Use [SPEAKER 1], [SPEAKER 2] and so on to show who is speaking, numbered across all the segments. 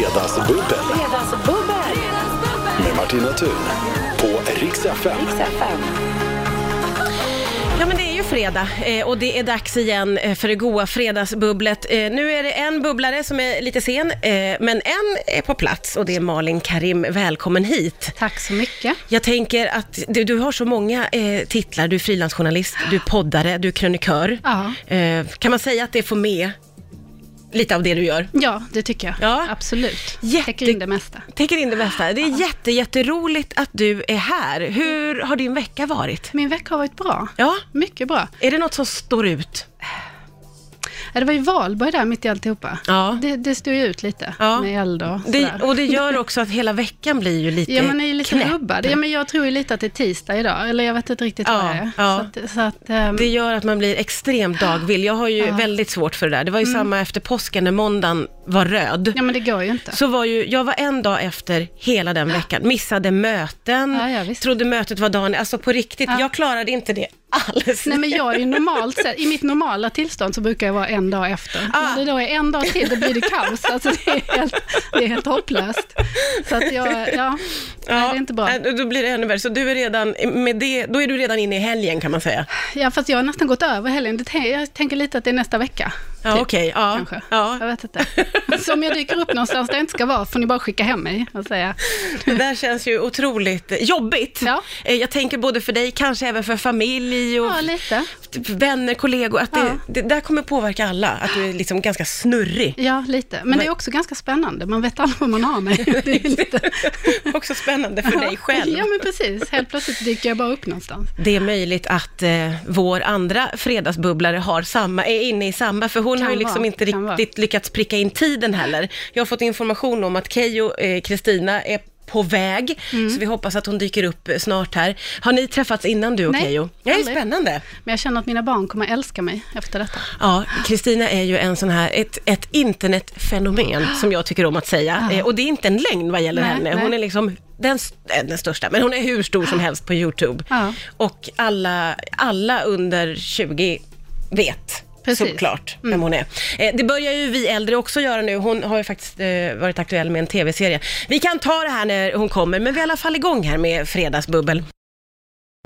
[SPEAKER 1] Fredagsbubbel
[SPEAKER 2] Fredagsbubbel!
[SPEAKER 1] med Martina Thun på Rix FM.
[SPEAKER 3] Ja men det är ju fredag eh, och det är dags igen eh, för det goa fredagsbubblet. Eh, Nu är det en bubblare som är lite sen, eh, men en är på plats och det är Malin Karim. Välkommen hit!
[SPEAKER 4] Tack så mycket.
[SPEAKER 3] Jag tänker att du, du har så många eh, titlar. Du är frilansjournalist, du är poddare, du är krönikör.
[SPEAKER 4] Ja.
[SPEAKER 3] Eh, kan man säga att det får med lite av det du gör?
[SPEAKER 4] Ja, det tycker jag.
[SPEAKER 3] Ja.
[SPEAKER 4] Absolut.
[SPEAKER 3] Jätte-
[SPEAKER 4] Täcker in det mesta.
[SPEAKER 3] Täcker in det mesta. Det är jätte, jätteroligt att du är här. Hur har din vecka varit?
[SPEAKER 4] Min vecka har varit bra.
[SPEAKER 3] Ja,
[SPEAKER 4] Mycket bra.
[SPEAKER 3] är det något som står ut?
[SPEAKER 4] Ja, Det var ju valborg där mitt i alltihopa.
[SPEAKER 3] Ja.
[SPEAKER 4] Det, det stod ju ut lite
[SPEAKER 3] Ja.
[SPEAKER 4] med eld och sådär.
[SPEAKER 3] Det, och det gör också att hela veckan blir ju lite
[SPEAKER 4] Ja, man är ju lite
[SPEAKER 3] knäpp.
[SPEAKER 4] rubbad. Ja, men jag tror ju lite att det är tisdag idag, eller jag vet inte riktigt
[SPEAKER 3] Ja,
[SPEAKER 4] vad det är.
[SPEAKER 3] ja.
[SPEAKER 4] Så att, så att, ehm,
[SPEAKER 3] Det gör att man blir extremt dagvill. Jag har ju väldigt svårt för det där. Det var ju samma efter påsken när måndagen var röd.
[SPEAKER 4] Mm. ja, men det går ju inte.
[SPEAKER 3] Så var ju, jag var en dag efter hela den veckan, missade möten,
[SPEAKER 4] Ja, ja, visst.
[SPEAKER 3] trodde mötet var dagen, alltså på riktigt, jag klarade inte det alls.
[SPEAKER 4] Nej, men jag är ju normalt sett, i mitt normala tillstånd så brukar jag vara en dag efter.
[SPEAKER 3] Ah.
[SPEAKER 4] Om det då är en dag till, då blir det kaos. Alltså, det, är helt, det är helt hopplöst. Så att jag, ja, Nej, det är inte bra.
[SPEAKER 3] nej, Då blir det ännu värre, så du är redan, med det, då är du redan inne i helgen kan man säga.
[SPEAKER 4] Ja, fast jag har nästan gått över helgen. Det tän- Jag tänker lite att det är nästa vecka.
[SPEAKER 3] Ja,
[SPEAKER 4] typ,
[SPEAKER 3] okej, ja,
[SPEAKER 4] Kanske.
[SPEAKER 3] ja.
[SPEAKER 4] Jag vet inte. Så om jag dyker upp någonstans där jag inte ska vara, får ni bara skicka hem mig och säga.
[SPEAKER 3] Det där känns ju otroligt jobbigt.
[SPEAKER 4] Ja.
[SPEAKER 3] Eh, Jag tänker både för dig, kanske även för familj och typ
[SPEAKER 4] Ja, lite.
[SPEAKER 3] vänner, kollegor, att det,
[SPEAKER 4] Ja.
[SPEAKER 3] det där kommer påverka alla, att du är liksom ganska snurrig.
[SPEAKER 4] Ja, lite. Men det är också ganska spännande. Man vet aldrig var man har mig. Det är lite...
[SPEAKER 3] Också spännande för dig själv.
[SPEAKER 4] Ja, men precis. Helt plötsligt dyker jag bara upp någonstans.
[SPEAKER 3] Det är möjligt att eh, vår andra fredagsbubblare har samma, är inne i samma, för hon
[SPEAKER 4] Kan
[SPEAKER 3] har ju liksom
[SPEAKER 4] vara,
[SPEAKER 3] inte
[SPEAKER 4] kan vara.
[SPEAKER 3] riktigt lyckats pricka in tiden heller. Jag har fått information om att Keyyo eh, Kristina är på väg,
[SPEAKER 4] Mm.
[SPEAKER 3] så vi hoppas att hon dyker upp eh, snart här. Har ni träffats innan du och
[SPEAKER 4] Nej,
[SPEAKER 3] Keyyo? Nej,
[SPEAKER 4] aldrig.
[SPEAKER 3] spännande.
[SPEAKER 4] Men jag känner att mina barn kommer älska mig efter detta.
[SPEAKER 3] Ja, Kristina är ju en sån här, ett, ett internetfenomen som jag tycker om att säga. Eh, Och det är inte en lögn vad gäller
[SPEAKER 4] Nej,
[SPEAKER 3] henne. Hon
[SPEAKER 4] nej.
[SPEAKER 3] är liksom den, s- eh, den största, men hon är hur stor som helst på YouTube.
[SPEAKER 4] Ja.
[SPEAKER 3] Och alla, alla under 20 vet.
[SPEAKER 4] Precis. Mm.
[SPEAKER 3] Såklart vem hon är. Eh, det börjar ju vi äldre också göra nu. Hon har ju faktiskt eh, varit aktuell med en tv-serie. Vi kan ta det här när hon kommer, men vi är i alla fall igång här med Fredagsbubbel.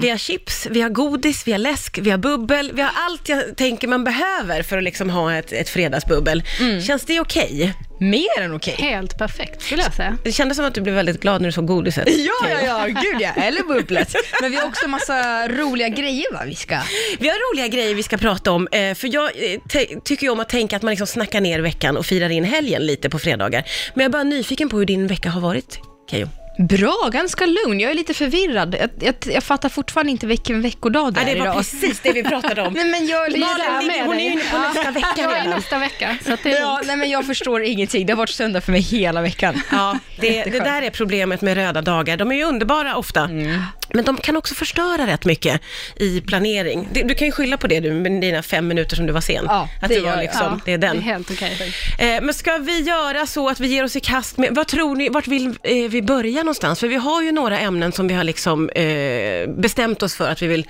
[SPEAKER 3] Vi har chips, vi har godis, vi har läsk, vi har bubbel, vi har allt jag tänker man behöver för att liksom ha ett, ett fredagsbubbel. Känns det okej?
[SPEAKER 5] Mer än okej.
[SPEAKER 4] Helt perfekt, skulle jag säga.
[SPEAKER 3] Det kändes som att du blev väldigt glad när du såg godiset.
[SPEAKER 5] Ja, ja, ja, gud ja. Eller bubblet. Men vi har också massa roliga grejer va, vi ska.
[SPEAKER 3] Vi har roliga grejer vi ska prata om, eh, för jag eh, te- tycker ju om att tänka att man liksom snackar ner veckan och firar in helgen lite på fredagar. Men jag är bara nyfiken på hur din vecka har varit, Keyyo.
[SPEAKER 5] Bra, ganska lugn. Jag är lite förvirrad. Jag, jag, jag fattar fortfarande inte vilken veckodag det är
[SPEAKER 3] det var
[SPEAKER 5] idag.
[SPEAKER 3] precis det vi pratade om.
[SPEAKER 5] Nej, men jag är lite...
[SPEAKER 4] där
[SPEAKER 3] Malin,
[SPEAKER 4] med
[SPEAKER 3] hon är
[SPEAKER 4] dig.
[SPEAKER 3] ju inne på nästa vecka
[SPEAKER 4] Jag är
[SPEAKER 3] redan.
[SPEAKER 4] nästa vecka, så att det är
[SPEAKER 5] Ja, nej, men jag förstår ingenting. Det har varit söndag för mig hela veckan.
[SPEAKER 3] Ja, det, det där är problemet med röda dagar. De är ju underbara ofta,
[SPEAKER 5] Mm.
[SPEAKER 3] men de kan också förstöra rätt mycket i planering. Det- Du kan ju skylla på det du med dina fem minuter som du var sen.
[SPEAKER 5] Ja,
[SPEAKER 3] att
[SPEAKER 5] det
[SPEAKER 3] du var
[SPEAKER 5] gör jag.
[SPEAKER 3] liksom, det är den.
[SPEAKER 4] Det är helt okej.
[SPEAKER 3] Eh, Men ska vi göra så att vi ger oss i kast med, vad tror ni, vart vill eh, vi börja någonstans? För vi har ju några ämnen som vi har liksom eh, bestämt oss för att vi vill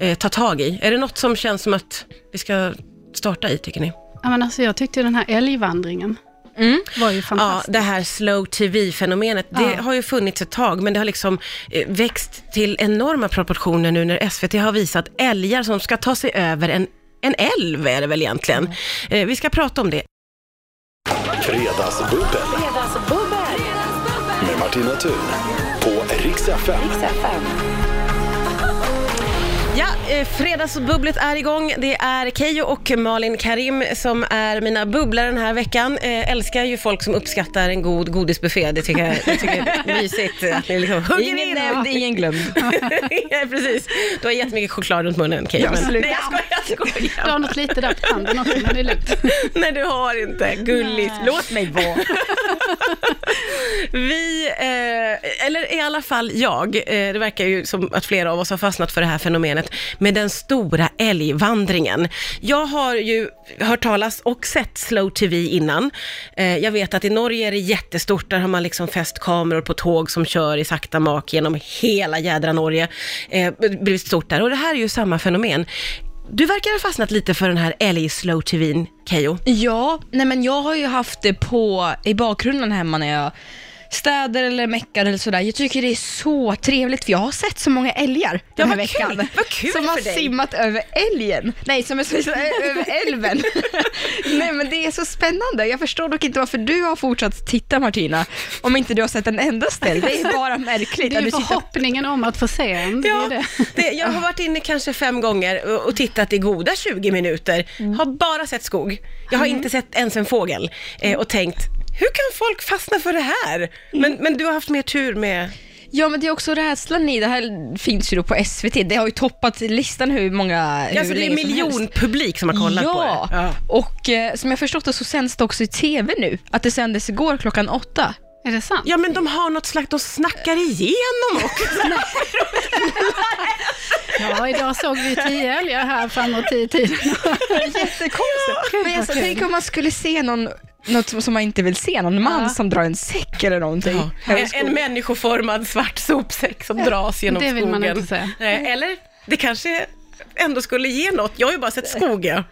[SPEAKER 3] eh, ta tag i. Är det något som känns som att vi ska starta i, tycker ni?
[SPEAKER 4] Ja, men alltså, jag tyckte ju den här älgvandringen
[SPEAKER 3] Mm.
[SPEAKER 4] var ju
[SPEAKER 3] Ja,
[SPEAKER 4] fantastisk.
[SPEAKER 3] det här slow tv-fenomenet, det
[SPEAKER 4] Ja.
[SPEAKER 3] har ju funnits ett tag, men det har liksom eh, växt till enorma proportioner nu när SVT har visat älgar som ska ta sig över en, en älv, är det väl egentligen. Eh, Vi ska prata om det.
[SPEAKER 1] Fredagsbubbel
[SPEAKER 2] Fredagsbubbel!
[SPEAKER 1] med Martina Thun på Rix FM.
[SPEAKER 3] Ja, eh, fredagsbubblet är igång. Det är Keyyo och Malin Karim som är mina bubblare den här veckan. Eh, älskar ju folk som uppskattar en god godisbuffé. Det tycker jag, jag tycker det är mysigt att ni liksom hugger
[SPEAKER 5] Ingen
[SPEAKER 3] in.
[SPEAKER 5] nämnd, ingen glömd.
[SPEAKER 3] Nej, precis. Du har jättemycket choklad runt munnen Keyyo. men-
[SPEAKER 5] absolut.
[SPEAKER 3] Nej, jag skojar, jag
[SPEAKER 4] Du har
[SPEAKER 3] skojar.
[SPEAKER 4] något lite där på handen också, men det är lugnt.
[SPEAKER 3] Nej, du har inte. Gulligt.
[SPEAKER 5] Låt mig vara.
[SPEAKER 3] Vi, eh, eller i alla fall jag, eh, det verkar ju som att flera av oss har fastnat för det här fenomenet med den stora älgvandringen. Jag har ju hört talas och sett slow tv innan. Eh, jag vet att i Norge är det jättestort, där har man liksom fäst kameror på tåg som kör i sakta mak genom hela jädra Norge. Eh, blivit stort där och det här är ju samma fenomen. Du verkar ha fastnat lite för den här Ellie Slow TVn, Keyyo.
[SPEAKER 5] Ja, nej men jag har ju haft det på i bakgrunden hemma när jag städar eller meckar eller sådär. Jag tycker det är så trevligt för jag har sett så många älgar den här
[SPEAKER 3] vad kul.
[SPEAKER 5] veckan.
[SPEAKER 3] Vad kul
[SPEAKER 5] som
[SPEAKER 3] för
[SPEAKER 5] har
[SPEAKER 3] dig.
[SPEAKER 5] simmat över älgen. Nej, som har simmat ö- över älven. nej men det är så spännande. Jag förstår dock inte varför du har fortsatt titta Martina, om inte du har sett en endaste älg. Det är bara märkligt.
[SPEAKER 4] Det är
[SPEAKER 5] att
[SPEAKER 4] ju
[SPEAKER 5] du tittar-
[SPEAKER 4] förhoppningen om att få se en. Det är det.
[SPEAKER 3] det, jag har varit inne kanske fem gånger och- och tittat i goda 20 minuter.
[SPEAKER 4] Mm.
[SPEAKER 3] Har bara sett skog. Jag har inte sett ens en fågel eh, och tänkt, hur kan folk fastna för det
[SPEAKER 4] Mm.
[SPEAKER 3] här? Men, men du har haft mer tur med...
[SPEAKER 5] Ja men det är också rädslan i, det här finns ju då på SVT, det har ju toppat listan hur många, hur
[SPEAKER 3] Ja, så alltså, det är
[SPEAKER 5] länge som helst.
[SPEAKER 3] miljonpublik som har kollat på
[SPEAKER 5] ja.
[SPEAKER 3] det. Ja.
[SPEAKER 5] och eh, som jag förstått det så sänds det också i TV nu. Att det sändes igår klockan åtta.
[SPEAKER 4] Är det sant?
[SPEAKER 3] Ja men de har något slags, de snackar igenom också.
[SPEAKER 4] Ja, idag såg vi tio älgar här framåt tio tiden.
[SPEAKER 5] Jättekonstigt. Men jag, sa,
[SPEAKER 4] vad kul.
[SPEAKER 5] tänk om man skulle se någon, något som som man inte vill se, någon man
[SPEAKER 4] Ja.
[SPEAKER 5] som drar en säck eller någonting. här i
[SPEAKER 3] En, en
[SPEAKER 5] skogen.
[SPEAKER 3] människoformad svart sopsäck som dras genom
[SPEAKER 4] det vill
[SPEAKER 3] skogen.
[SPEAKER 4] man inte se.
[SPEAKER 3] Nej, Eller, det kanske ändå skulle ge något. Jag har ju bara sett skog. Ja,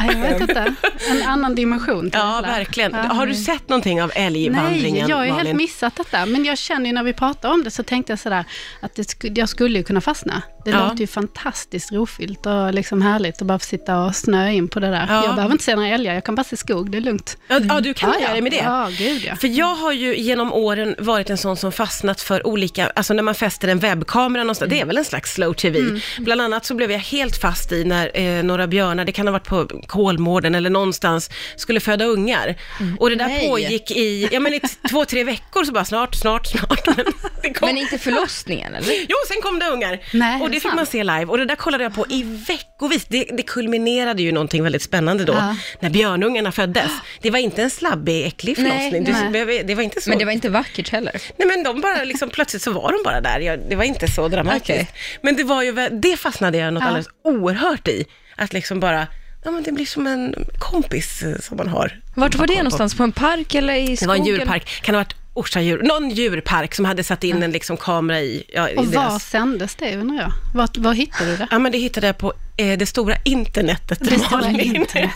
[SPEAKER 4] Nej, Jag vet inte. En annan dimension. till
[SPEAKER 3] ja
[SPEAKER 4] alla.
[SPEAKER 3] verkligen.
[SPEAKER 4] Ja.
[SPEAKER 3] Har du sett någonting av
[SPEAKER 4] Nej,
[SPEAKER 3] älgvandringen,
[SPEAKER 4] jag har ju helt
[SPEAKER 3] Malin?
[SPEAKER 4] missat detta. Men jag känner ju när vi pratade om det så tänkte jag sådär att det sku, jag skulle ju kunna fastna. Det
[SPEAKER 3] Ja.
[SPEAKER 4] låter ju fantastiskt rofyllt och liksom härligt att bara få sitta och snöa in på det där.
[SPEAKER 3] Ja.
[SPEAKER 4] Jag behöver inte se några älgar, jag kan bara se skog, det är lugnt.
[SPEAKER 3] Ja, ja, du kan göra det med det.
[SPEAKER 4] Ja, gud ja.
[SPEAKER 3] För jag har ju genom åren varit en sån som fastnat för olika, alltså när man fäster en webbkamera någonstans,
[SPEAKER 4] Mm.
[SPEAKER 3] det är väl en slags slow tv. Bland annat så blev jag helt fast i när eh, några björnar, det kan ha varit på Kolmården eller någonstans, skulle föda ungar.
[SPEAKER 4] Mm.
[SPEAKER 3] Och det där
[SPEAKER 5] Nej.
[SPEAKER 3] pågick i, ja men i t- två, tre veckor så bara snart, snart, snart. Men det kom,
[SPEAKER 5] Men inte förlossningen eller?
[SPEAKER 3] Jo, sen kom det ungar.
[SPEAKER 4] Nej,
[SPEAKER 3] och det
[SPEAKER 4] är det
[SPEAKER 3] fick
[SPEAKER 4] sant?
[SPEAKER 3] man se live. Och det där kollade jag på i veckovis. Det, det kulminerade ju någonting väldigt spännande då,
[SPEAKER 4] Ja.
[SPEAKER 3] när björnungarna föddes. Det var inte en slabbig, äcklig
[SPEAKER 5] Nej,
[SPEAKER 3] förlossning. Du
[SPEAKER 4] nej.
[SPEAKER 3] behöver- det var inte så.
[SPEAKER 5] Men det var inte vackert heller.
[SPEAKER 3] Nej men de bara liksom, plötsligt så var de bara där. Jag, det var inte så dramatiskt.
[SPEAKER 5] Okej.
[SPEAKER 3] Men det var ju, vä- det fastnade jag något
[SPEAKER 4] Ja.
[SPEAKER 3] alldeles oerhört i. Att liksom bara, ja men det blir som en kompis eh, som man har.
[SPEAKER 5] Vart var det någonstans? På en park eller i skogen?
[SPEAKER 3] Det var en djurpark, kan det ha varit Orsa djur, någon djurpark som hade satt in en liksom kamera i, ja, i
[SPEAKER 4] Och var
[SPEAKER 3] deras...
[SPEAKER 4] sändes det undrar jag? Var, var hittade du det?
[SPEAKER 3] Ja men det hittade jag på eh, det stora internetet.
[SPEAKER 4] Det stora
[SPEAKER 3] Malin.
[SPEAKER 4] internet.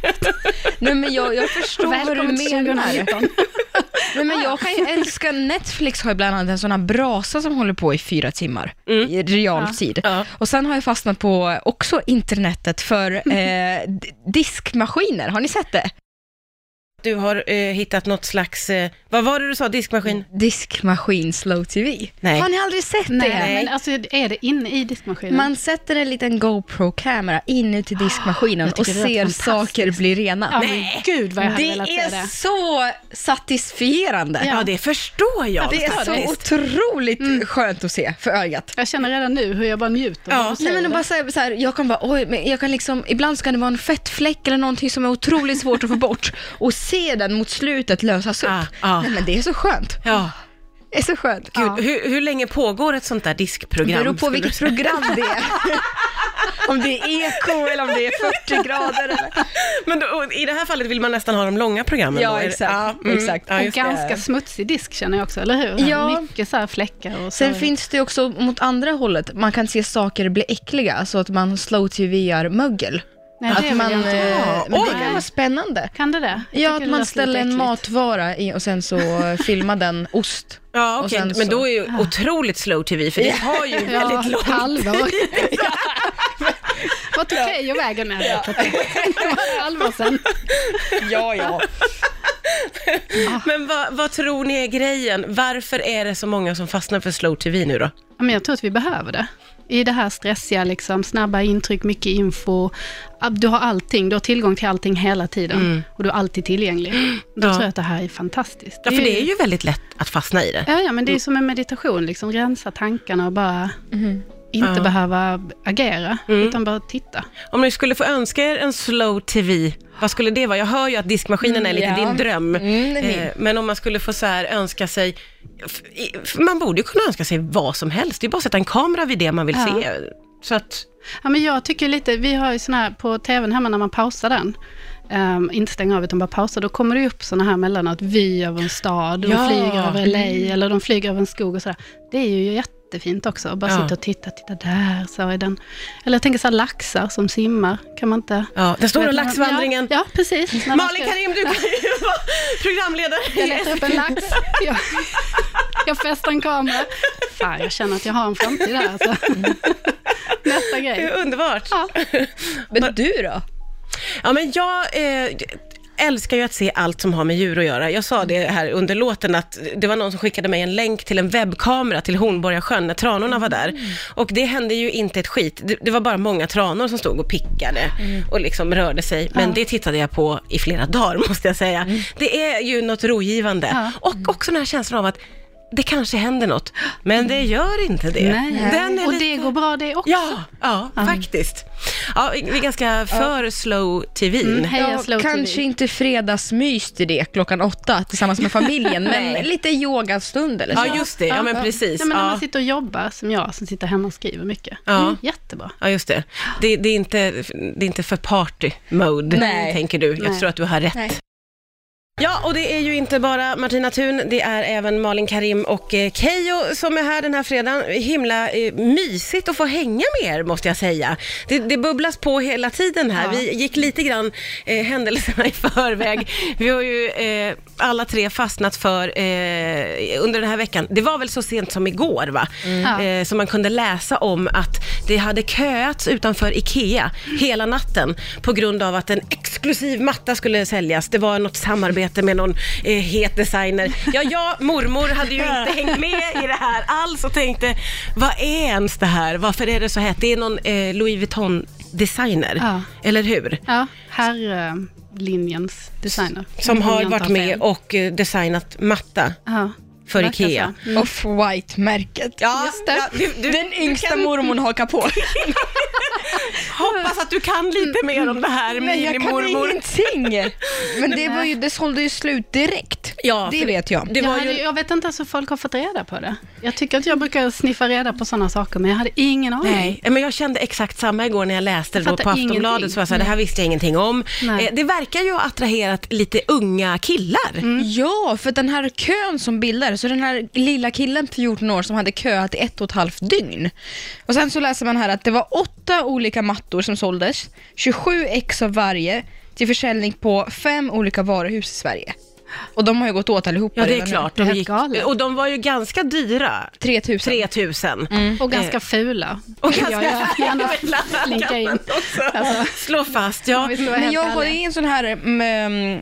[SPEAKER 5] Nej men jag, jag förstår vad du
[SPEAKER 4] Välkommen till
[SPEAKER 5] menar.
[SPEAKER 4] 2019.
[SPEAKER 5] Nej, men jag kan ju älska, Netflix har ju bland annat en sån här brasa som håller på i fyra timmar
[SPEAKER 3] Mm.
[SPEAKER 5] i realtid.
[SPEAKER 3] Ja.
[SPEAKER 5] Och sen har jag fastnat på också internetet för eh, d- diskmaskiner, har ni sett det?
[SPEAKER 3] Du har eh, hittat något slags, eh, vad var det du sa, diskmaskin?
[SPEAKER 5] Diskmaskin slow tv.
[SPEAKER 3] Nej.
[SPEAKER 5] Har ni aldrig sett det?
[SPEAKER 4] Nej, men alltså är det inne i diskmaskinen?
[SPEAKER 5] Man sätter en liten GoPro-kamera inuti diskmaskinen
[SPEAKER 4] Ah, Jag
[SPEAKER 5] och
[SPEAKER 4] tycker det
[SPEAKER 5] ser
[SPEAKER 4] låter
[SPEAKER 5] saker bli rena.
[SPEAKER 4] ja, men gud vad jag hade
[SPEAKER 5] Det
[SPEAKER 4] velat se
[SPEAKER 5] är
[SPEAKER 4] det.
[SPEAKER 5] så satisfierande.
[SPEAKER 3] Ja. det förstår jag.
[SPEAKER 5] Det är så otroligt
[SPEAKER 4] Mm.
[SPEAKER 5] skönt att se för ögat.
[SPEAKER 4] Jag känner redan nu hur jag bara njuter.
[SPEAKER 3] Ja.
[SPEAKER 4] när du
[SPEAKER 5] Nej
[SPEAKER 4] säger
[SPEAKER 5] men och
[SPEAKER 4] det.
[SPEAKER 5] bara så här, så här, jag kan bara, oj, men jag kan liksom, ibland så kan det vara en fettfläck eller någonting som är otroligt svårt att få bort och se den mot slutet lösas upp.
[SPEAKER 3] Ah, ah.
[SPEAKER 5] Nej men det är så skönt.
[SPEAKER 3] Ja,
[SPEAKER 5] Det är så skönt.
[SPEAKER 3] gud, hur, hur länge pågår ett sånt där
[SPEAKER 5] Det
[SPEAKER 3] diskprogram?
[SPEAKER 5] beror på
[SPEAKER 3] skulle du
[SPEAKER 5] vilket
[SPEAKER 3] säga?
[SPEAKER 5] program det är. om det är eko eller om det är 40 grader eller...
[SPEAKER 3] Men då, och i det här fallet vill man nästan ha de långa programmen.
[SPEAKER 5] Ja,
[SPEAKER 3] då. Är det-
[SPEAKER 5] exakt, exakt.
[SPEAKER 3] Ja,
[SPEAKER 4] Och
[SPEAKER 3] just det.
[SPEAKER 4] ganska smutsig disk känner jag också, eller hur?
[SPEAKER 5] Ja.
[SPEAKER 4] Mycket så här fläckar och så.
[SPEAKER 5] Sen finns det ju också mot andra hållet, man kan se saker bli äckliga, så att man slow-tv-ar mögel.
[SPEAKER 4] Nej, det
[SPEAKER 5] att
[SPEAKER 4] vill
[SPEAKER 5] man,
[SPEAKER 4] jag inte.
[SPEAKER 5] eh,
[SPEAKER 4] ha.
[SPEAKER 5] men det
[SPEAKER 4] Nej.
[SPEAKER 5] kan vara spännande.
[SPEAKER 4] Kan det det? Jag
[SPEAKER 5] Ja,
[SPEAKER 4] tycker
[SPEAKER 5] att
[SPEAKER 4] det
[SPEAKER 5] man
[SPEAKER 4] låter
[SPEAKER 5] ställer
[SPEAKER 4] lite
[SPEAKER 5] en
[SPEAKER 4] äckligt.
[SPEAKER 5] matvara i, och sen så eh, filmar den ost.
[SPEAKER 3] Ja,
[SPEAKER 5] Och
[SPEAKER 3] okej,
[SPEAKER 5] sen
[SPEAKER 3] men
[SPEAKER 5] så-
[SPEAKER 3] då är ju otroligt slow tv, för det har ju väldigt
[SPEAKER 4] Ja,
[SPEAKER 3] långt.
[SPEAKER 4] halvår. Vad tog Keyyo vägen när jag vet inte. Det var ett halvår sedan.
[SPEAKER 5] Ja, ja.
[SPEAKER 3] Men vad, vad tror ni är grejen? Varför är det så många som fastnar för slow tv nu då?
[SPEAKER 4] Ja, Men jag tror att vi behöver det. I det här stressiga, liksom, snabba intryck, mycket info. Du har allting, du har tillgång till allting hela tiden. Och du är alltid tillgänglig. Då
[SPEAKER 3] Mm. Ja.
[SPEAKER 4] tror jag att det här är fantastiskt.
[SPEAKER 3] Ja, för det är ju väldigt lätt att fastna i det.
[SPEAKER 4] Ja, ja, men det är som en meditation, liksom rensa tankarna och bara inte
[SPEAKER 3] Mm. Ja. Mm.
[SPEAKER 4] behöva agera, utan bara titta.
[SPEAKER 3] Om ni skulle få önska er en slow tv, vad skulle det vara? Jag hör ju att diskmaskinen är lite
[SPEAKER 5] Ja.
[SPEAKER 3] din dröm.
[SPEAKER 5] Mm, det är min.
[SPEAKER 3] Eh, Men om man skulle få så här önska sig, f- i- f- man borde ju kunna önska sig vad som helst. Det är bara att sätta en kamera vid det man vill
[SPEAKER 4] Ja.
[SPEAKER 3] se. Så att,
[SPEAKER 4] Ja, men jag tycker lite, vi har ju såna här på tvn hemma när man pausar den, ehm, inte stänga av utan bara pausa, då kommer det upp såna här mellan att vy över en stad, de
[SPEAKER 3] Ja. Mm.
[SPEAKER 4] flyger över LA eller de flyger över en skog och sådär. Det är ju jätte jättefint också. Och bara
[SPEAKER 3] Ja.
[SPEAKER 4] sitta och titta, titta där så är den. Eller jag tänker så här laxar som simmar, kan man inte...
[SPEAKER 3] Ja, där står
[SPEAKER 4] Vet
[SPEAKER 3] det
[SPEAKER 4] man-
[SPEAKER 3] laxvandringen.
[SPEAKER 4] Ja, ja precis. När man
[SPEAKER 3] Malin
[SPEAKER 4] ska-
[SPEAKER 3] Karim, du kan ju vara programledare.
[SPEAKER 4] Jag letar upp en lax. Jag, jag fäster en kamera. Fan, jag känner att jag har en framtid här alltså. Nästa
[SPEAKER 3] Mm. Det
[SPEAKER 4] grej.
[SPEAKER 3] är underbart.
[SPEAKER 4] Ja.
[SPEAKER 5] Men du då?
[SPEAKER 3] Ja, men jag eh, älskar ju att se allt som har med djur att göra. Jag sa det här under låten att det var någon som skickade mig en länk till en webbkamera till Hornborgasjön när tranorna var där.
[SPEAKER 4] Mm.
[SPEAKER 3] Och det hände ju inte ett skit. Det, det var bara många tranor som stod och pickade
[SPEAKER 4] Mm.
[SPEAKER 3] och liksom rörde sig. Men det tittade jag på i flera dagar måste jag säga. Det är ju något rogivande.
[SPEAKER 4] Mm. Ja. Mm.
[SPEAKER 3] Och också den här känslan av att det kanske händer något, men det gör inte det.
[SPEAKER 4] Nej.
[SPEAKER 3] Den är
[SPEAKER 4] och
[SPEAKER 3] lite-
[SPEAKER 4] det går bra det också.
[SPEAKER 3] Ja, ja faktiskt. Ja, vi vi är ganska för slow-tvn.
[SPEAKER 4] Heja Slow
[SPEAKER 5] kanske
[SPEAKER 4] TV.
[SPEAKER 5] inte fredagsmys till det klockan åtta tillsammans med familjen, men lite yogastund eller så.
[SPEAKER 3] Ja, just det. Ja, men precis.
[SPEAKER 4] Ja, men när man
[SPEAKER 3] Ja,
[SPEAKER 4] sitter och jobbar, som jag, som sitter hemma och skriver mycket.
[SPEAKER 3] Ja.
[SPEAKER 4] Mm, jättebra.
[SPEAKER 3] ja just det. Det, det, är inte, det är inte för party-mode,
[SPEAKER 5] Nej.
[SPEAKER 3] tänker du. Jag
[SPEAKER 4] Nej.
[SPEAKER 3] tror att du har rätt.
[SPEAKER 5] Nej.
[SPEAKER 3] Ja, och det är ju inte bara Martina Thun, det är även Malin Karim och eh, Keyyo som är här den här fredagen. Himla eh, mysigt att få hänga med er, måste jag säga. Det, det bubblas på hela tiden här.
[SPEAKER 4] Ja.
[SPEAKER 3] Vi gick lite grann eh, händelserna i förväg. Vi har ju eh, alla tre fastnat för eh, under den här veckan. Det var väl så sent som igår, va?
[SPEAKER 4] Mm. Ja.
[SPEAKER 3] Eh, som man kunde läsa om att det hade köats utanför IKEA hela natten på grund av att en exklusiv matta skulle säljas. Det var något samarbete med någon eh, het designer. Ja, jag, mormor, hade ju inte hängt med i det här alls och tänkte, vad är ens det här? Varför är det så hett? Det är någon eh, Louis Vuitton-designer,
[SPEAKER 4] Ja.
[SPEAKER 3] eller hur?
[SPEAKER 4] Ja, herrlinjens designer.
[SPEAKER 3] Som
[SPEAKER 4] Om
[SPEAKER 3] har
[SPEAKER 4] jag inte
[SPEAKER 3] varit med
[SPEAKER 4] fel.
[SPEAKER 3] och eh, designat matta
[SPEAKER 4] Ja.
[SPEAKER 3] för
[SPEAKER 4] Verkar
[SPEAKER 3] IKEA.
[SPEAKER 4] så. Mm.
[SPEAKER 5] Off-white-märket.
[SPEAKER 3] Ja,
[SPEAKER 4] Just det.
[SPEAKER 3] ja, du, du,
[SPEAKER 5] Den yngsta mormon hakar på.
[SPEAKER 3] hoppas att du kan lite mer om det här,
[SPEAKER 5] Nej, jag kan
[SPEAKER 3] minimormor.
[SPEAKER 5] ingenting. Men det, var ju, det sålde ju slut direkt.
[SPEAKER 3] Ja,
[SPEAKER 5] det
[SPEAKER 3] för-
[SPEAKER 5] vet jag.
[SPEAKER 3] Det
[SPEAKER 4] jag,
[SPEAKER 3] var
[SPEAKER 4] hade,
[SPEAKER 3] ju...
[SPEAKER 4] jag vet inte ens hur folk har fått reda på det. Jag tycker att jag brukar sniffa reda på sådana saker, men jag hade ingen aning.
[SPEAKER 3] Nej, eh, men jag kände exakt samma igår när jag läste det
[SPEAKER 4] Jag
[SPEAKER 3] då på
[SPEAKER 4] fattar
[SPEAKER 3] Aftonbladet.
[SPEAKER 4] ingenting.
[SPEAKER 3] Så var jag så här, det här visste jag ingenting om.
[SPEAKER 4] Nej.
[SPEAKER 3] Eh, det verkar ju ha attraherat lite unga killar.
[SPEAKER 4] Mm.
[SPEAKER 5] Ja, för den här kön som bildades, så den här lilla killen på 14 år som hade köat i ett och ett halvt dygn. Och sen så läser man här att det var åtta olika mattor som såldes, 27 ex av varje, till försäljning på fem olika varuhus i Sverige. Och de har ju gått åt allihopa
[SPEAKER 3] Ja, det är
[SPEAKER 5] redan nu.
[SPEAKER 3] klart.
[SPEAKER 4] Det är
[SPEAKER 3] De
[SPEAKER 4] helt
[SPEAKER 3] gick,
[SPEAKER 4] galet.
[SPEAKER 3] och de var ju ganska dyra.
[SPEAKER 5] 3000.
[SPEAKER 3] 3000.
[SPEAKER 4] Och ganska fula.
[SPEAKER 3] Och
[SPEAKER 4] vill
[SPEAKER 3] ganska
[SPEAKER 4] jag gärna slinka in. Alltså,
[SPEAKER 3] Slå fast, ja.
[SPEAKER 4] om vi ska vara
[SPEAKER 5] Men
[SPEAKER 4] helt
[SPEAKER 5] jag har
[SPEAKER 4] ärliga.
[SPEAKER 5] ju en sån här mm, eh,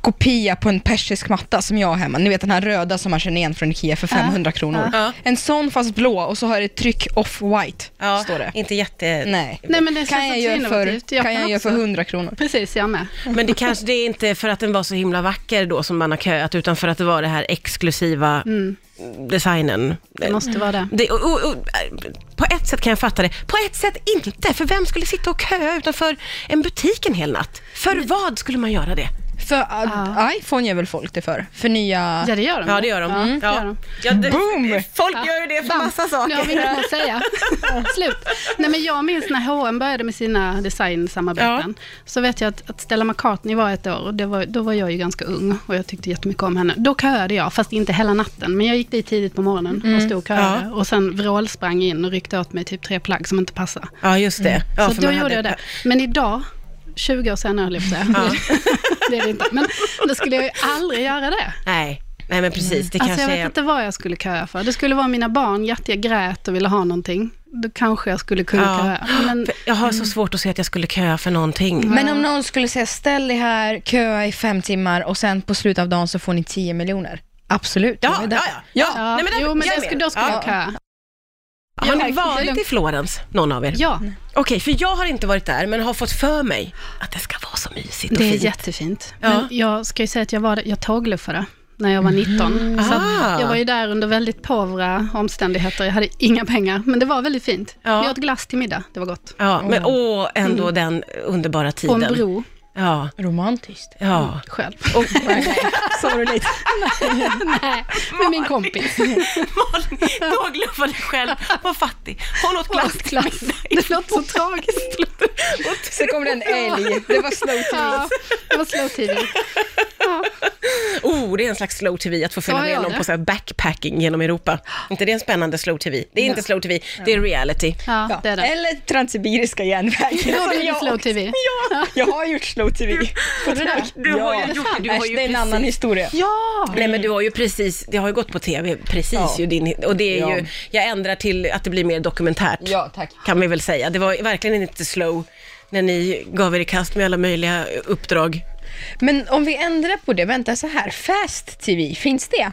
[SPEAKER 5] kopia på en persisk matta som jag har hemma. Ni vet den här röda som man känner igen från Ikea för 500 kronor.
[SPEAKER 3] Ja.
[SPEAKER 5] En sån fast blå och så har det ett tryck off-white,
[SPEAKER 3] ja
[SPEAKER 5] står det.
[SPEAKER 3] Inte jätte...
[SPEAKER 5] Nej.
[SPEAKER 4] Nej, men det
[SPEAKER 5] kan
[SPEAKER 4] känns
[SPEAKER 5] jag,
[SPEAKER 4] också
[SPEAKER 5] göra för,
[SPEAKER 4] innovativt. Jag
[SPEAKER 5] kan
[SPEAKER 4] kan
[SPEAKER 5] jag göra för
[SPEAKER 4] också.
[SPEAKER 5] 100 kronor.
[SPEAKER 4] Precis, jag med.
[SPEAKER 3] Men det kanske det är inte för att den var så himla vacker då som man har köat, utan för att det var det här exklusiva
[SPEAKER 4] Mm.
[SPEAKER 3] designen.
[SPEAKER 4] Det måste vara det.
[SPEAKER 3] Det, och, och, och, eh, på ett sätt kan jag fatta det, på ett sätt inte. För vem skulle sitta och köa utanför en butik en hel natt? För
[SPEAKER 4] Mm.
[SPEAKER 3] vad skulle man göra det?
[SPEAKER 5] För
[SPEAKER 4] ah.
[SPEAKER 5] uh, iPhone gör väl folk det för? För nya...
[SPEAKER 4] Ja, det gör de.
[SPEAKER 3] Ja, det gör de. Mm.
[SPEAKER 4] Ja, det
[SPEAKER 3] Ja.
[SPEAKER 4] gör de.
[SPEAKER 3] Ja, det,
[SPEAKER 5] Boom!
[SPEAKER 3] Folk gör ju det för
[SPEAKER 4] Bam.
[SPEAKER 3] massa
[SPEAKER 4] Nu har vi
[SPEAKER 3] saker.
[SPEAKER 4] inget att säga. Slut. Nej, men jag minns när H&M började med sina designsamarbeten. Så vet jag att, att Stella McCartney var ett år och det var, då var jag ju ganska ung och jag tyckte jättemycket om henne. Då köade jag, fast inte hela natten. Men jag gick dit tidigt på morgonen och
[SPEAKER 3] Mm.
[SPEAKER 4] stod och köade. Och sen vrålsprang in och ryckte åt mig typ tre plagg som inte passade.
[SPEAKER 3] Ja, just det. Ja,
[SPEAKER 4] Mm. så
[SPEAKER 3] för
[SPEAKER 4] då
[SPEAKER 3] man
[SPEAKER 4] gjorde
[SPEAKER 3] hade-
[SPEAKER 4] jag det. Men idag, 20 år senare höll jag på att säga. det är det inte. Men då skulle jag ju aldrig göra det.
[SPEAKER 3] Nej, nej men precis. Det
[SPEAKER 4] Alltså jag
[SPEAKER 3] kanske
[SPEAKER 4] vet
[SPEAKER 3] är...
[SPEAKER 4] inte vad jag skulle köa för. Det skulle vara mina barn, hjärtat grät och ville ha någonting. Då kanske jag skulle kunna
[SPEAKER 3] Ja.
[SPEAKER 4] köa. Men Mm.
[SPEAKER 3] För Jag har så svårt att se att jag skulle köa för någonting.
[SPEAKER 5] Men om någon skulle säga ställ dig här, köa i fem timmar och sen på slutet av dagen så får ni 10 miljoner. Absolut.
[SPEAKER 3] Ja,
[SPEAKER 5] jag
[SPEAKER 3] ja,
[SPEAKER 5] är där.
[SPEAKER 3] ja. ja.
[SPEAKER 4] ja,
[SPEAKER 3] Nej,
[SPEAKER 4] jo, men
[SPEAKER 3] jag
[SPEAKER 4] det
[SPEAKER 3] är
[SPEAKER 4] skulle,
[SPEAKER 3] med.
[SPEAKER 4] då skulle
[SPEAKER 3] Ja.
[SPEAKER 4] jag köa.
[SPEAKER 3] Har ni
[SPEAKER 4] Jag-
[SPEAKER 3] varit i Florens, någon av er?
[SPEAKER 4] Ja,
[SPEAKER 3] Okej, för jag har inte varit där, men har fått för mig att det ska vara så mysigt och
[SPEAKER 4] det är
[SPEAKER 3] fint.
[SPEAKER 4] jättefint.
[SPEAKER 3] Ja.
[SPEAKER 4] Men jag ska ju säga att jag, var, jag tågluffade när jag var 19. Så
[SPEAKER 3] Ah.
[SPEAKER 4] att jag var ju där under väldigt påvra omständigheter. Jag hade inga pengar, men det var väldigt fint.
[SPEAKER 3] Ja.
[SPEAKER 4] Vi åt glass till middag, det var gott.
[SPEAKER 3] Ja, men åh, ändå den underbara
[SPEAKER 4] Mm. På
[SPEAKER 3] tiden.
[SPEAKER 4] en bro
[SPEAKER 3] Ja,
[SPEAKER 5] Romantiskt.
[SPEAKER 3] ja.
[SPEAKER 4] själv.
[SPEAKER 3] Och,
[SPEAKER 5] Sorgligt.
[SPEAKER 4] Nej, med min kompis.
[SPEAKER 3] Malin tågluffade själv, var fattig. Hon åt glass.
[SPEAKER 4] Åt glass. Det låter så tragiskt.
[SPEAKER 5] Sen kom det en älg. Det var slow
[SPEAKER 4] Ja, det var slow tv. Ja.
[SPEAKER 3] Oh, det är en slags slow-tv, att få följa
[SPEAKER 4] Ja,
[SPEAKER 3] med
[SPEAKER 4] ja,
[SPEAKER 3] någon
[SPEAKER 4] det.
[SPEAKER 3] på så här backpacking genom Europa. Inte det är en spännande slow-tv? Det är inte slow-tv, det är reality.
[SPEAKER 4] Ja, det är det.
[SPEAKER 5] Eller Transsibiriska järnvägen.
[SPEAKER 4] Då blir det
[SPEAKER 5] Jag-
[SPEAKER 4] slow-tv.
[SPEAKER 5] Ja, jag har gjort slow-tv.
[SPEAKER 3] Du har ju gjort det, du har
[SPEAKER 5] Äsch,
[SPEAKER 3] ju
[SPEAKER 5] det är en
[SPEAKER 3] precis-
[SPEAKER 5] annan historia.
[SPEAKER 4] Ja!
[SPEAKER 3] Nej men du har ju precis, det har ju gått på tv precis
[SPEAKER 5] Ja.
[SPEAKER 3] ju din, och det är
[SPEAKER 5] Ja.
[SPEAKER 3] ju, jag ändrar till att det blir mer dokumentärt.
[SPEAKER 5] Ja, tack.
[SPEAKER 3] Kan vi väl säga. Det var verkligen inte slow när ni gav er i kast med alla möjliga uppdrag.
[SPEAKER 5] Men om vi ändrar på det, vänta så här. Fast TV, finns det?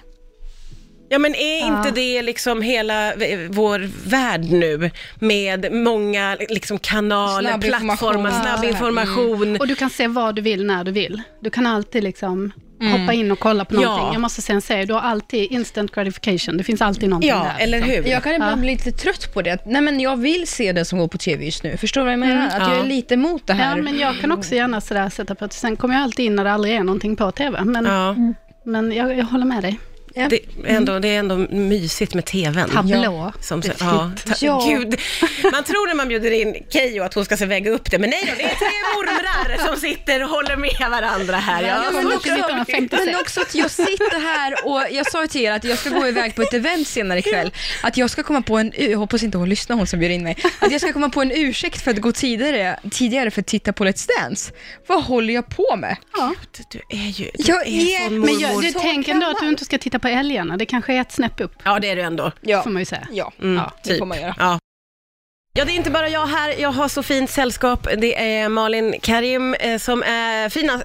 [SPEAKER 3] Ja men är inte
[SPEAKER 4] Ja.
[SPEAKER 3] det liksom hela eh, vår värld nu med många liksom kanaler,
[SPEAKER 5] Snabb information.
[SPEAKER 3] plattformar,
[SPEAKER 5] Ja.
[SPEAKER 3] snabb information.
[SPEAKER 4] Mm. Och du kan se vad du vill när du vill. Du kan alltid liksom hoppa in och kolla på
[SPEAKER 3] Ja.
[SPEAKER 4] någonting. Jag måste säga en serie, du har alltid instant gratification. Det finns alltid någonting
[SPEAKER 3] Ja,
[SPEAKER 4] där.
[SPEAKER 3] eller
[SPEAKER 4] liksom.
[SPEAKER 3] hur?
[SPEAKER 5] Jag kan ibland
[SPEAKER 4] Ja.
[SPEAKER 5] bli lite trött på det. Att, Nej, men jag vill se det som går på TV just nu. Förstår du vad jag menar? Att jag
[SPEAKER 3] Ja.
[SPEAKER 5] är lite emot det här.
[SPEAKER 4] Ja, men jag kan också gärna sådär sätta på att sen kommer jag alltid in när det aldrig är någonting på TV. Men,
[SPEAKER 3] Ja,
[SPEAKER 4] men jag, jag håller med dig.
[SPEAKER 5] Ja.
[SPEAKER 3] det, är ändå, det är ändå mysigt med tvn.
[SPEAKER 4] Tablå.
[SPEAKER 3] Som, så- ja, ta,
[SPEAKER 5] Ja.
[SPEAKER 3] Gud. Man tror när man bjuder in Keyyo att hon ska så väga upp det, men nej då, det är tre mormrar som sitter och håller med varandra här. Ja,
[SPEAKER 4] Ja, men
[SPEAKER 3] så
[SPEAKER 4] då
[SPEAKER 3] också-
[SPEAKER 4] kan vi- 1956.
[SPEAKER 5] men också att jag sitter här och jag sa ju till er att jag ska gå iväg på ett event senare ikväll. Att jag ska komma på en, jag hoppas inte hon lyssnar hon som bjöd in mig, att jag ska komma på en ursäkt för att gå tidigare, tidigare för att titta på Let's Dance. Vad håller jag på med?
[SPEAKER 3] du är ju du
[SPEAKER 5] Jag
[SPEAKER 3] är
[SPEAKER 5] är-
[SPEAKER 3] sån
[SPEAKER 5] men
[SPEAKER 4] Men jag,
[SPEAKER 3] mormor.
[SPEAKER 4] du
[SPEAKER 5] Så
[SPEAKER 4] tänker ändå
[SPEAKER 5] gammal.
[SPEAKER 4] att du inte ska titta på älgarna. Det kanske är ett snäpp upp,
[SPEAKER 3] Ja, det är du ändå.
[SPEAKER 5] Ja,
[SPEAKER 4] får man ju säga.
[SPEAKER 5] ja,
[SPEAKER 3] Mm,
[SPEAKER 5] ja det
[SPEAKER 3] typ.
[SPEAKER 5] får man göra.
[SPEAKER 3] Ja. Ja, det är inte bara jag här. Jag har så fint sällskap. Det är Malin Karim eh, som är fina-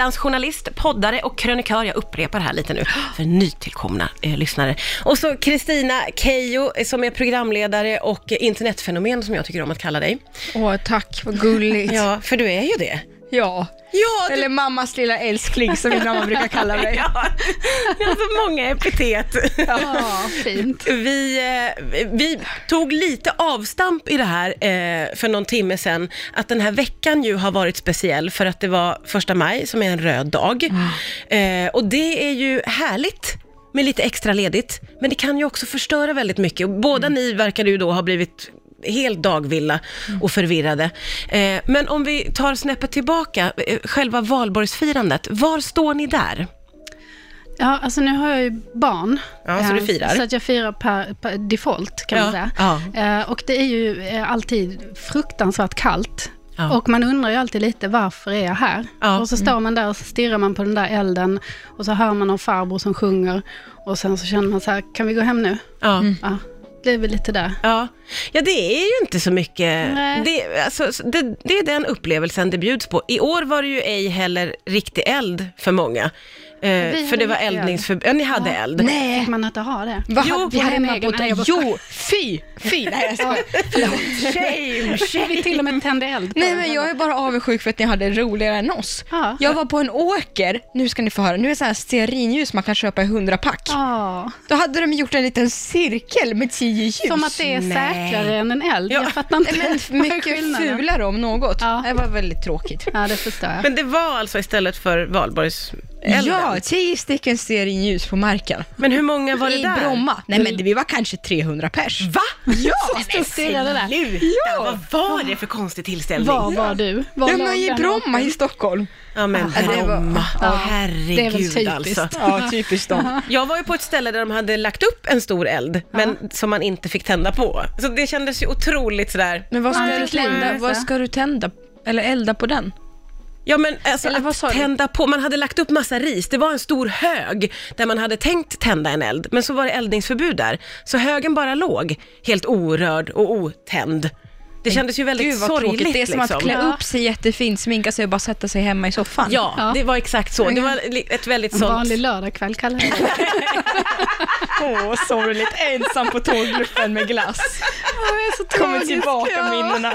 [SPEAKER 3] frilansjournalist, poddare och krönikör. Jag upprepar här lite nu för nytillkomna eh, lyssnare. Och så Kristina Keijo eh, som är programledare och internetfenomen som jag tycker om att kalla dig.
[SPEAKER 5] Åh tack, vad gulligt. Ja.
[SPEAKER 3] Ja, för du är ju det. Ja,
[SPEAKER 5] Eller mammas lilla älskling som min mamma brukar kalla mig.
[SPEAKER 3] Ja, det är så många epitet.
[SPEAKER 4] Ja, fint.
[SPEAKER 3] Vi, eh, vi tog lite avstamp i det här eh, för någon timme sedan, att den här veckan ju har varit speciell för att det var första maj som är en röd dag. Eh, och det är ju härligt med lite extra ledigt, men det kan ju också förstöra väldigt mycket. Och båda ni verkar ju då ha blivit helt dagvilla och förvirrade. Eh, men om vi tar snäppet tillbaka, eh, själva valborgsfirandet, var står ni där?
[SPEAKER 4] Ja, alltså nu har jag ju barn.
[SPEAKER 3] Ja, så
[SPEAKER 4] Eh,
[SPEAKER 3] du firar.
[SPEAKER 4] Så att jag firar per, per default, kan
[SPEAKER 3] Ja,
[SPEAKER 4] man säga.
[SPEAKER 3] ja.
[SPEAKER 4] Eh, Och det är ju eh, alltid fruktansvärt kallt.
[SPEAKER 3] Ja.
[SPEAKER 4] Och man undrar ju alltid lite, varför är jag här?
[SPEAKER 3] Ja. mm.
[SPEAKER 4] Och så står man där och så stirrar man på den där elden. Och så hör man någon farbror som sjunger. Och sen så känner man så här, kan vi gå hem nu?
[SPEAKER 3] Ja.
[SPEAKER 4] Ja, det är väl lite där.
[SPEAKER 3] Ja. ja, det är ju inte så mycket.
[SPEAKER 4] Nej.
[SPEAKER 3] Det, alltså, så- det, det är den upplevelsen det bjuds på. I år var det ju ej heller riktig eld för många. Eh, för
[SPEAKER 4] hade
[SPEAKER 3] det var
[SPEAKER 4] mycket eld.
[SPEAKER 3] eldningsförbud. Ja, ni hade eld.
[SPEAKER 5] Nej,
[SPEAKER 4] Fick man inte ha det?
[SPEAKER 5] vad
[SPEAKER 3] Jo,
[SPEAKER 5] hade vi
[SPEAKER 4] jag hade en
[SPEAKER 5] hemma
[SPEAKER 4] egen.
[SPEAKER 5] på
[SPEAKER 4] Nej, jag bara
[SPEAKER 5] Jo, fy, fy. Nej, jag skojar.
[SPEAKER 3] Shame,
[SPEAKER 4] Vi till och med tände eld på
[SPEAKER 5] Nej
[SPEAKER 4] den.
[SPEAKER 5] men jag är bara avundsjuk för att ni hade roligare än oss.
[SPEAKER 4] Ja.
[SPEAKER 5] Jag var på en åker, nu ska ni få höra, nu är det så här stearinljus man kan köpa i 100 pack.
[SPEAKER 4] Ja.
[SPEAKER 5] Då hade de gjort en liten cirkel med 10 ljus. Mm.
[SPEAKER 4] Som att det är
[SPEAKER 3] Nej.
[SPEAKER 4] säkrare än en eld.
[SPEAKER 3] Ja.
[SPEAKER 4] Jag fattar inte.
[SPEAKER 5] Nej, men f- mycket
[SPEAKER 4] skillnaden.
[SPEAKER 5] fulare om något.
[SPEAKER 4] Ja.
[SPEAKER 5] Det var väldigt tråkigt.
[SPEAKER 4] Ja, det förstår jag.
[SPEAKER 3] Men det var alltså istället för valborgselden?
[SPEAKER 5] Ja, 10 stycken stearinljus på marken.
[SPEAKER 3] Men hur många var det
[SPEAKER 5] I
[SPEAKER 3] där?
[SPEAKER 5] Bromma. Nej men det- vi var kanske 300 pers.
[SPEAKER 3] Va? Ja,
[SPEAKER 4] stod och stirrade där.
[SPEAKER 3] Sluta, vad var det för konstig tillställning?
[SPEAKER 4] Var var du? Var
[SPEAKER 5] Ja,
[SPEAKER 4] låg
[SPEAKER 5] men I
[SPEAKER 4] den
[SPEAKER 5] Bromma i Stockholm.
[SPEAKER 3] Ja men
[SPEAKER 5] Ja, det var-
[SPEAKER 3] Bromma,
[SPEAKER 4] Ja.
[SPEAKER 3] herregud
[SPEAKER 4] Det är väl typiskt.
[SPEAKER 3] alltså.
[SPEAKER 5] Ja, typiskt dem.
[SPEAKER 3] Jag var ju på ett ställe där de hade lagt upp en stor eld, men som man inte fick tända på. Så det kändes ju otroligt sådär,
[SPEAKER 5] Men vad ska,
[SPEAKER 4] Ja,
[SPEAKER 5] du
[SPEAKER 4] det kan jag
[SPEAKER 5] tända,
[SPEAKER 4] läsa.
[SPEAKER 5] vad ska du tända, eller elda på den?
[SPEAKER 3] ja men alltså
[SPEAKER 5] Eller vad sa
[SPEAKER 3] att
[SPEAKER 5] du?
[SPEAKER 3] tända på, man hade lagt upp massa ris, det var en stor hög där man hade tänkt tända en eld, men så var det eldningsförbud där. Så högen bara låg, helt orörd och otänd. Det kändes ju väldigt
[SPEAKER 5] Gud vad
[SPEAKER 3] sorgligt
[SPEAKER 5] tråkigt. Det är som
[SPEAKER 3] liksom.
[SPEAKER 5] att klä
[SPEAKER 4] Ja.
[SPEAKER 5] upp sig jättefint, sminka sig och bara sätta sig hemma i soffan.
[SPEAKER 3] Ja,
[SPEAKER 4] Ja.
[SPEAKER 3] det var exakt så. Det var li- ett väldigt
[SPEAKER 4] En
[SPEAKER 3] sånt...
[SPEAKER 4] vanlig lördagkväll kallar jag det.
[SPEAKER 5] Åh, sorgligt. Ensam på tåggruppen med glass.
[SPEAKER 4] Jag är så tragisk. ja.
[SPEAKER 3] Ja, men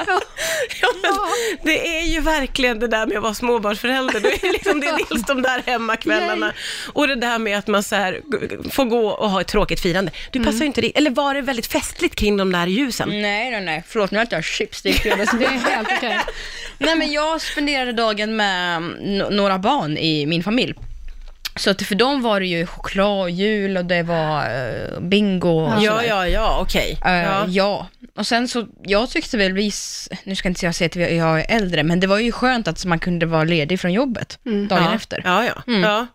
[SPEAKER 3] det är ju verkligen det där med att vara småbarnsförälder. Det är, liksom, det är dels de där hemmakvällarna och det där med att man så här, g- får gå och ha ett tråkigt firande. Du passar
[SPEAKER 5] Mm.
[SPEAKER 3] ju inte det. Eller var det väldigt festligt kring de där ljusen?
[SPEAKER 5] Nej, nej, nej. Förlåt, nu har jag inte chips. Det är
[SPEAKER 4] Det är helt okej.
[SPEAKER 5] Nej, men jag spenderade dagen med n- några barn i min familj. Så att för dem var det ju choklad, och jul och det var eh, bingo och
[SPEAKER 3] Ja,
[SPEAKER 5] sådär.
[SPEAKER 3] ja, ja, okej.
[SPEAKER 5] Eh,
[SPEAKER 3] Ja.
[SPEAKER 5] ja. och sen så, jag tyckte väl vi, s- nu ska inte jag säga att vi- jag är äldre, men det var ju skönt att man kunde vara ledig från jobbet dagen
[SPEAKER 3] Mm. ja.
[SPEAKER 5] efter.
[SPEAKER 3] Ja, ja.
[SPEAKER 5] Mm.
[SPEAKER 3] ja.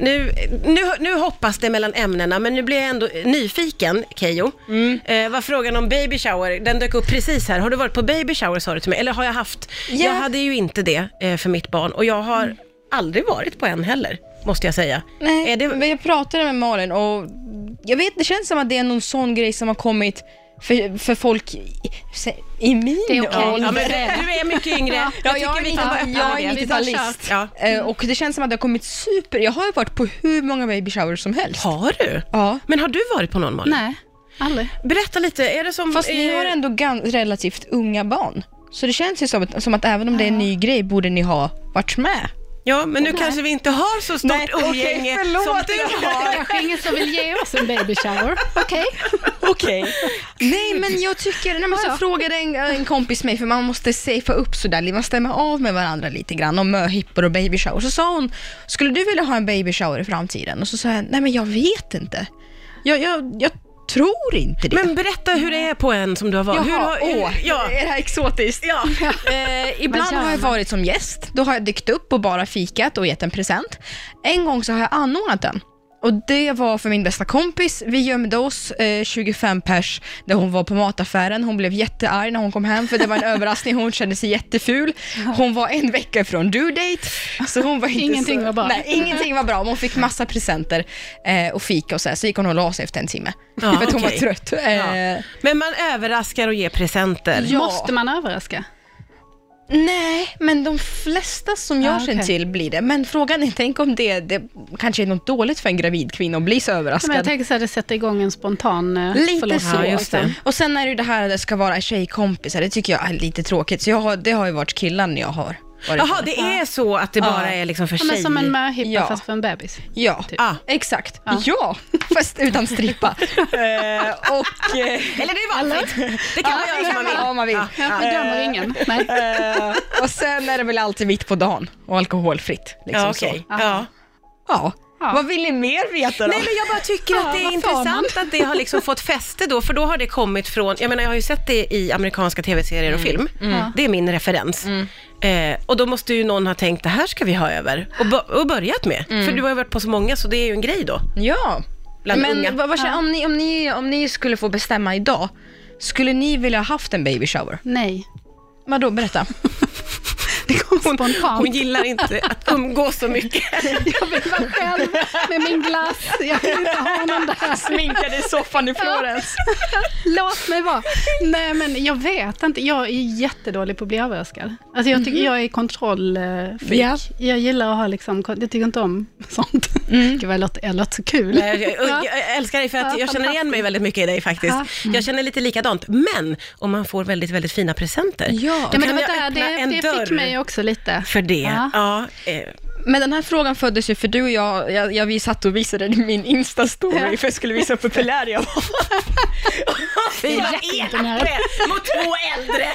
[SPEAKER 3] Nu, nu, nu hoppas det mellan ämnena, men nu blir jag ändå nyfiken, Keyyo.
[SPEAKER 5] Mm.
[SPEAKER 3] Eh, vad frågan om baby shower, den dök upp precis här. Har du varit på baby shower sa du till mig, eller har jag haft?
[SPEAKER 5] Ja.
[SPEAKER 3] Jag hade ju inte det eh, för mitt barn och jag har aldrig varit på en heller, måste jag säga.
[SPEAKER 5] Nej,
[SPEAKER 3] Är det,
[SPEAKER 5] men jag pratade med Malin och jag vet, det känns som att det är någon sån grej som har kommit för, för folk i, i min
[SPEAKER 4] Det är okej.
[SPEAKER 5] ålder.
[SPEAKER 3] ja, men, du är mycket yngre.
[SPEAKER 4] Ja,
[SPEAKER 5] Ja,
[SPEAKER 3] tycker
[SPEAKER 5] jag är
[SPEAKER 3] vi kan vara öppna
[SPEAKER 5] 90 jag
[SPEAKER 3] med
[SPEAKER 5] är
[SPEAKER 3] det.
[SPEAKER 5] 90-talist.
[SPEAKER 3] Ja.
[SPEAKER 5] Eh, Och det känns som att det har kommit super... Jag har ju varit på hur många baby showers som helst.
[SPEAKER 3] Har du?
[SPEAKER 5] Ja.
[SPEAKER 3] Men har du varit på någon Malin?
[SPEAKER 4] Nej, aldrig.
[SPEAKER 3] Berätta lite, är det som...
[SPEAKER 5] Fast ni
[SPEAKER 3] eh,
[SPEAKER 5] har ändå gan- relativt unga barn. Så det känns ju som att, som att även om det är en ny grej borde ni ha varit med.
[SPEAKER 3] Ja, men nu kanske vi inte har så stort
[SPEAKER 5] Nej, okej,
[SPEAKER 3] umgänge
[SPEAKER 5] förlåt.
[SPEAKER 3] som du
[SPEAKER 4] Det är
[SPEAKER 3] har.
[SPEAKER 4] kanske ingen som vill ge oss en baby shower. Okej.
[SPEAKER 3] Okej.
[SPEAKER 5] Nej men jag tycker, nej, men så frågade en, en kompis mig, för man måste safea upp sådär, man stämmer av med varandra lite grann om möhippor och baby shower. Så sa hon, skulle du vilja ha en baby shower i framtiden? Och så sa jag, nej men jag vet inte. Jag, jag, jag tror inte det.
[SPEAKER 3] Men berätta hur det är på en som du har varit. hur har, hur,
[SPEAKER 5] åh,
[SPEAKER 3] ja.
[SPEAKER 5] är det här exotiskt?
[SPEAKER 3] Ja.
[SPEAKER 5] Eh, ibland
[SPEAKER 4] gör
[SPEAKER 5] har jag
[SPEAKER 4] man?
[SPEAKER 5] varit som gäst, då har jag dykt upp och bara fikat och gett en present. En gång så har jag anordnat den. Och det var för min bästa kompis, vi gömde oss eh, 25 pers när hon var på mataffären, hon blev jättearg när hon kom hem för det var en överraskning, hon kände sig jätteful. Hon var en vecka från due date, så hon var inte
[SPEAKER 4] Ingenting
[SPEAKER 5] så,
[SPEAKER 4] var bra.
[SPEAKER 5] Nej, ingenting var bra, men hon fick massa presenter eh, och fika och så, här. så gick hon och la sig efter en timme.
[SPEAKER 3] Ja,
[SPEAKER 5] för att hon
[SPEAKER 3] okej.
[SPEAKER 5] var trött. Eh,
[SPEAKER 3] Ja. Men man överraskar och ger presenter.
[SPEAKER 5] Ja.
[SPEAKER 4] Måste man överraska?
[SPEAKER 5] Nej, men de flesta som jag
[SPEAKER 4] Ah, okej.
[SPEAKER 5] känner till blir det. Men frågan är, tänk om det, det kanske är något dåligt för en gravid kvinna att bli så
[SPEAKER 4] Men jag
[SPEAKER 5] överraskad.
[SPEAKER 4] tänker så här, det sätter igång en spontan eh,
[SPEAKER 5] Lite
[SPEAKER 4] förlossning.
[SPEAKER 5] så.
[SPEAKER 3] Ja, just det.
[SPEAKER 5] Och sen är det ju det här att det ska vara tjejkompisar, det tycker jag är lite tråkigt. Så jag har, det har ju varit killarna jag har varit
[SPEAKER 3] Jaha,
[SPEAKER 5] med.
[SPEAKER 3] det är så att det bara är liksom för
[SPEAKER 4] Ja, men
[SPEAKER 3] tjejer?
[SPEAKER 4] som en möhippa
[SPEAKER 5] Ja.
[SPEAKER 4] fast för en bebis.
[SPEAKER 5] Ja,
[SPEAKER 4] Typ.
[SPEAKER 3] Ah.
[SPEAKER 5] exakt. Ja, fast utan strippa. eh, och... Eh,
[SPEAKER 3] Eller det är valfritt. Det kan man
[SPEAKER 5] ja,
[SPEAKER 3] göra
[SPEAKER 5] det
[SPEAKER 3] som
[SPEAKER 5] kan
[SPEAKER 3] man
[SPEAKER 5] man
[SPEAKER 3] vill.
[SPEAKER 5] göra om man vill.
[SPEAKER 4] Ja, vi dömer ingen. Nej.
[SPEAKER 5] Eh, och sen är det väl alltid mitt på dagen och alkoholfritt. Liksom
[SPEAKER 3] Ja,
[SPEAKER 5] så.
[SPEAKER 3] okej.
[SPEAKER 4] Ja.
[SPEAKER 3] Ja.
[SPEAKER 5] Ja.
[SPEAKER 4] Ja.
[SPEAKER 5] Vad vill ni mer veta då?
[SPEAKER 3] Nej, men jag bara tycker att det är
[SPEAKER 4] vad fan,
[SPEAKER 3] intressant att det har liksom fått fäste då, för då har det kommit från, jag menar jag har ju sett det i amerikanska tv-serier
[SPEAKER 4] Mm.
[SPEAKER 3] och film, Mm. det är min referens. Eh, och då måste ju någon ha tänkt, det här ska vi ha över, och, bo- och börjat med.
[SPEAKER 4] Mm.
[SPEAKER 3] För du har ju varit på så många, så det är ju en grej då.
[SPEAKER 5] Ja.
[SPEAKER 3] Bland
[SPEAKER 5] men
[SPEAKER 3] unga.
[SPEAKER 5] Vad, vad, känner- om, ni, om, ni, om ni skulle få bestämma idag, skulle ni vilja ha haft en baby shower?
[SPEAKER 4] Nej.
[SPEAKER 5] Vadå, berätta.
[SPEAKER 4] Det kom spontant.
[SPEAKER 3] Hon gillar inte att umgås så mycket.
[SPEAKER 4] Jag vill vara själv med min glass. Jag vill inte ha någon där.
[SPEAKER 5] Sminkade i soffan i Florens.
[SPEAKER 4] Låt mig vara. Nej, men jag vet inte. Jag är jättedålig på att bli överraskad. Alltså, jag
[SPEAKER 3] Mhm.
[SPEAKER 4] tycker jag är kontrollfreak.
[SPEAKER 5] Ja.
[SPEAKER 4] Jag gillar att ha liksom, kon- jag tycker inte om sånt. Gud, vad jag låter, jag låter så kul.
[SPEAKER 3] Mm. Nej, Jag, jag,
[SPEAKER 4] Ja.
[SPEAKER 3] jag älskar dig för att
[SPEAKER 4] Ja, Mm.
[SPEAKER 3] jag känner igen mig väldigt mycket i dig faktiskt. Jag känner lite likadant, men om man får väldigt, väldigt fina presenter,
[SPEAKER 5] Ja.
[SPEAKER 4] Ja, men det
[SPEAKER 3] Kan
[SPEAKER 4] var
[SPEAKER 3] jag
[SPEAKER 4] där,
[SPEAKER 3] öppna en
[SPEAKER 4] det, det
[SPEAKER 3] dörr?
[SPEAKER 4] fick mig också lite.
[SPEAKER 3] för det.
[SPEAKER 4] Ja.
[SPEAKER 3] Ja, eh,
[SPEAKER 5] Men den här frågan föddes ju för du och jag, jag, jag vi satt och visade min Insta-story för jag skulle visa hur populär jag var.
[SPEAKER 3] Vi var
[SPEAKER 4] jätteimponerad.
[SPEAKER 3] elaka mot två äldre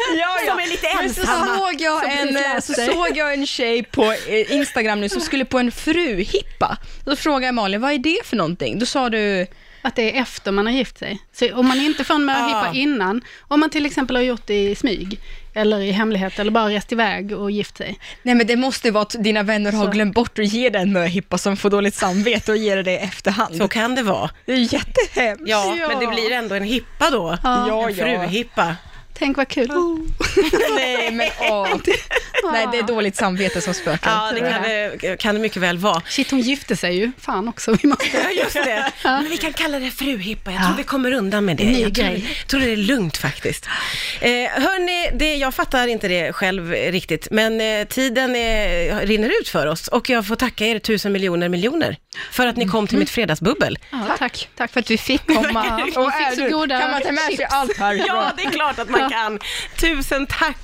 [SPEAKER 3] som är lite
[SPEAKER 5] Men så
[SPEAKER 3] ensamma.
[SPEAKER 5] såg, jag en, eh, så såg jag en tjej på eh, Instagram nu som skulle på en fruhippa. Då frågade jag Malin, vad är det för någonting? Då sa du,
[SPEAKER 4] Att det är efter man har gift sig. Så om man inte får en möhippa
[SPEAKER 3] Ah.
[SPEAKER 4] innan, om man till exempel har gjort det i smyg, eller i hemlighet, eller bara rest iväg och gift sig.
[SPEAKER 5] Nej men det måste vara att dina vänner har
[SPEAKER 4] Så.
[SPEAKER 5] glömt bort att ge dig en möhippa som får dåligt samvete och ger dig det i efterhand.
[SPEAKER 3] Så kan det vara.
[SPEAKER 5] Det är ju jättehemskt.
[SPEAKER 3] Ja, men det blir ändå en hippa då.
[SPEAKER 4] Ja,
[SPEAKER 5] Ja,
[SPEAKER 3] en
[SPEAKER 5] ja.
[SPEAKER 3] fruhippa.
[SPEAKER 4] Tänk vad kul.
[SPEAKER 3] Oh.
[SPEAKER 5] Nej men åh. Nej det är dåligt samvete som spökar.
[SPEAKER 3] Ja, det kan det, kan det mycket väl vara.
[SPEAKER 4] Shit, hon gifte sig ju. Fan också, vi måste...
[SPEAKER 3] Ja, just det. Men vi kan kalla det fruhippa. Jag tror
[SPEAKER 4] Ja.
[SPEAKER 3] vi kommer undan med det.
[SPEAKER 4] Ny
[SPEAKER 3] Jag tror,
[SPEAKER 4] grej.
[SPEAKER 3] jag tror det är lugnt faktiskt. Eh, hörni, det, jag fattar inte det själv eh, riktigt, men eh, tiden eh, rinner ut för oss och jag får tacka er tusen miljoner miljoner för att ni kom till mitt fredagsbubbel.
[SPEAKER 4] Ja, tack.
[SPEAKER 5] Tack för att vi fick komma.
[SPEAKER 4] Ja, och fick så goda
[SPEAKER 5] kan man ta med sig
[SPEAKER 4] chips.
[SPEAKER 5] allt här?
[SPEAKER 3] Ja, det är klart att man kan. Tusen tack